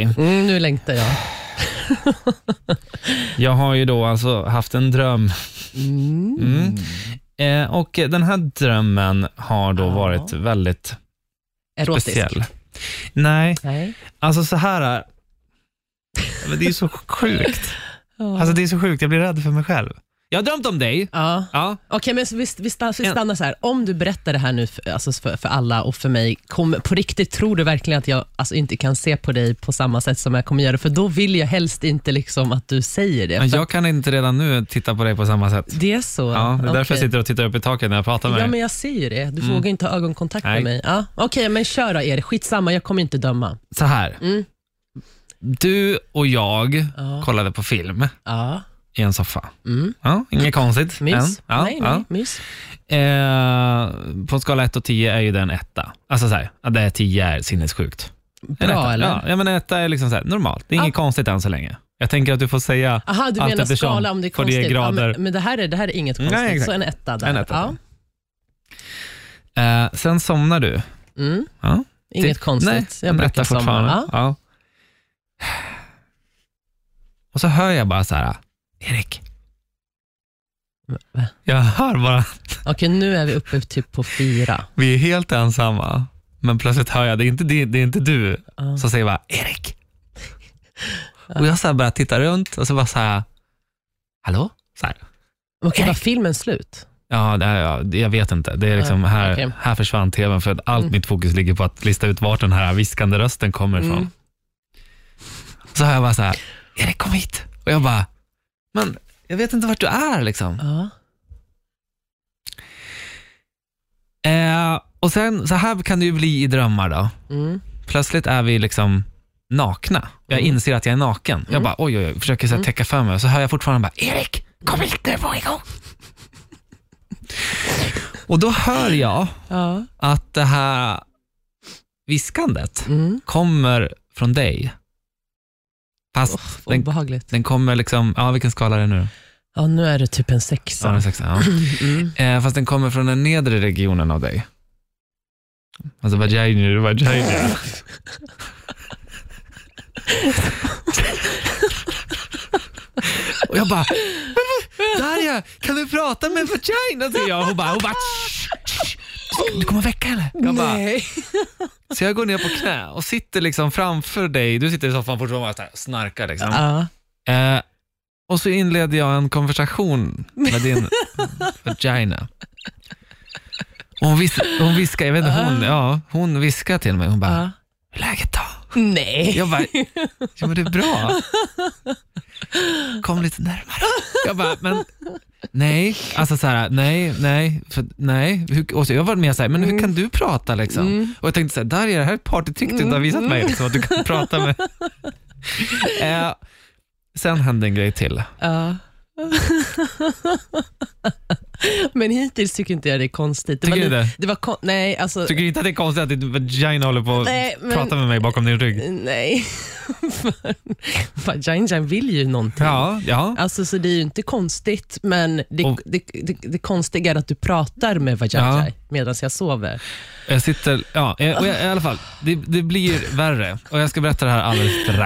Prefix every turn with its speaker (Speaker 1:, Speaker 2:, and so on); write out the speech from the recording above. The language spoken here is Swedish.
Speaker 1: Mm, nu längtar jag.
Speaker 2: Jag har ju då alltså haft en dröm. Mm. Eh, och den här drömmen har då
Speaker 1: Ja.
Speaker 2: varit väldigt
Speaker 1: Erotisk.
Speaker 2: speciell. Nej,
Speaker 1: Nej.
Speaker 2: alltså så här är Men det är ju så sjukt.
Speaker 1: Ja.
Speaker 2: Alltså det är så sjukt, jag blir rädd för mig själv. Jag har drömt om dig.
Speaker 1: ja.
Speaker 2: Ja,
Speaker 1: Okej, men så vi, vi, stannar, vi
Speaker 2: En-
Speaker 1: stannar så här. Om du berättar det här nu för, alltså för, för alla och för mig, kom, på riktigt, tror du verkligen att jag alltså, inte kan se på dig på samma sätt som jag kommer göra? För då vill jag helst inte liksom att du säger det.
Speaker 2: men
Speaker 1: För
Speaker 2: jag kan inte redan nu titta på dig på samma sätt.
Speaker 1: Det är så?
Speaker 2: Ja, det är därför jag
Speaker 1: Okej.
Speaker 2: sitter och tittar upp i taket när jag pratar med
Speaker 1: Ja,
Speaker 2: dig.
Speaker 1: men jag ser ju det. Du vågar inte ha ögonkontakt
Speaker 2: Nej.
Speaker 1: med mig. Ja. Okej, men kör då er. Skitsamma, jag kommer inte döma.
Speaker 2: Så här.
Speaker 1: Mm.
Speaker 2: Du och jag
Speaker 1: Ja.
Speaker 2: kollade på film
Speaker 1: Ja.
Speaker 2: i en soffa.
Speaker 1: Mm.
Speaker 2: Ja, inget konstigt.
Speaker 1: Mys.
Speaker 2: än. Ja,
Speaker 1: nej,
Speaker 2: ja.
Speaker 1: nej, mys.
Speaker 2: Eh, på en skala 1 och 10 är ju den etta. Alltså så här, att det är 10 är sinnessjukt. En
Speaker 1: Bra,
Speaker 2: etta.
Speaker 1: eller?
Speaker 2: Ja, ja, men en etta är liksom så här, normalt. Det är inget
Speaker 1: Ja.
Speaker 2: konstigt än så länge. Jag tänker att du får säga
Speaker 1: Aha, du
Speaker 2: Allt
Speaker 1: menar
Speaker 2: eftersom,
Speaker 1: skala om det är
Speaker 2: på det
Speaker 1: konstigt.
Speaker 2: grader.
Speaker 1: Ja, men, men det här är, det här är inget
Speaker 2: Nej,
Speaker 1: konstigt.
Speaker 2: exakt.
Speaker 1: så en etta där.
Speaker 2: En etta
Speaker 1: Ja.
Speaker 2: eh, sen somnar du.
Speaker 1: Mm.
Speaker 2: Ja.
Speaker 1: Inget
Speaker 2: Till-
Speaker 1: konstigt.
Speaker 2: Nej,
Speaker 1: jag
Speaker 2: en
Speaker 1: brukar
Speaker 2: etta
Speaker 1: somna.
Speaker 2: fortfarande.
Speaker 1: Ja.
Speaker 2: Ja. Och så hör jag bara så här, Erik.
Speaker 1: Va?
Speaker 2: Jag hör bara,
Speaker 1: Okej, nu är vi uppe typ på fyra.
Speaker 2: vi är helt ensamma. Men plötsligt hör jag, det är inte, det, det är inte du
Speaker 1: Ja.
Speaker 2: Så säger jag bara Erik. Och jag så här bara tittar runt och så bara så här, hallå? Så här.
Speaker 1: Okej, var filmen slut?
Speaker 2: Ja, det här, ja, jag vet inte. Det är liksom
Speaker 1: Nej,
Speaker 2: här,
Speaker 1: okej.
Speaker 2: här försvann tvn för att allt
Speaker 1: Mm.
Speaker 2: mitt fokus ligger på att lista ut vart den här viskande rösten kommer ifrån.
Speaker 1: Mm.
Speaker 2: Så hör jag bara så här, Erik kom hit. Och jag bara, men jag vet inte vart du är liksom.
Speaker 1: Ja.
Speaker 2: Eh, och sen, så här kan det ju bli i drömmar då.
Speaker 1: Mm.
Speaker 2: plötsligt är vi liksom nakna. Jag
Speaker 1: Mm.
Speaker 2: inser att jag är naken. Jag
Speaker 1: Mm.
Speaker 2: bara oj, oj, oj, försöker så här, täcka för mig. Så hör jag fortfarande bara, Erik, kom hit nu på igång. Och då hör jag
Speaker 1: Ja.
Speaker 2: att det här viskandet
Speaker 1: Mm.
Speaker 2: kommer från dig. Fast den-
Speaker 1: Obehagligt.
Speaker 2: den kommer liksom, ja vilken skala är det nu?
Speaker 1: Ja, nu är det typ en
Speaker 2: Ja,
Speaker 1: sexa.
Speaker 2: den sexan, ja.
Speaker 1: Mm.
Speaker 2: Eh, fast den kommer från den nedre regionen av dig. Alltså vagina, vagina. Och jag bara, "Men vad- Darja, kan du prata med vagina? säger jag. Hon bara, hon bara "Shh, shh, shh. du kommer väcka henne. Jag bara,
Speaker 1: Nej.
Speaker 2: så jag går ner på knä och sitter liksom framför dig. Du sitter i soffan fortfarande och bara så här snarkar. Liksom.
Speaker 1: Ja.
Speaker 2: Eh, och så inledde jag en konversation med din vagina. Och hon, vis- hon viskade, jag vet inte, hon, ja, hon viskade till mig. Hon bara,
Speaker 1: Ja.
Speaker 2: hur är läget då?
Speaker 1: Nej.
Speaker 2: Jag bara, ja men det är bra. Kom lite närmare. Jag bara, men nej, alltså så här, nej, nej, för, nej. Hur, och så, jag har varit med så här, men hur
Speaker 1: Mm.
Speaker 2: kan du prata liksom? Och jag tänkte så här, Darja, det här är ett partytrick du
Speaker 1: Mm.
Speaker 2: inte har visat mig, liksom, att du kan prata med. eh, sen hände en grej till.
Speaker 1: Ja. Men hittills tycker inte jag det är konstigt. Det
Speaker 2: Tycker
Speaker 1: var
Speaker 2: du
Speaker 1: li-
Speaker 2: det?
Speaker 1: Det var kon- nej, alltså...
Speaker 2: Tycker du inte att det är konstigt att din vagina håller på att
Speaker 1: Nej, men-
Speaker 2: prata med mig bakom din rygg?
Speaker 1: Nej. Jain Jain vill ju någonting.
Speaker 2: Ja, ja.
Speaker 1: Alltså, så det är ju inte konstigt, men det,
Speaker 2: Och-
Speaker 1: det, det, det konstiga är att du pratar med Vajajaj medan jag sover.
Speaker 2: Jag sitter, ja, eh, och jag, i alla fall, det, det blir värre och jag ska berätta det här alldeles strax.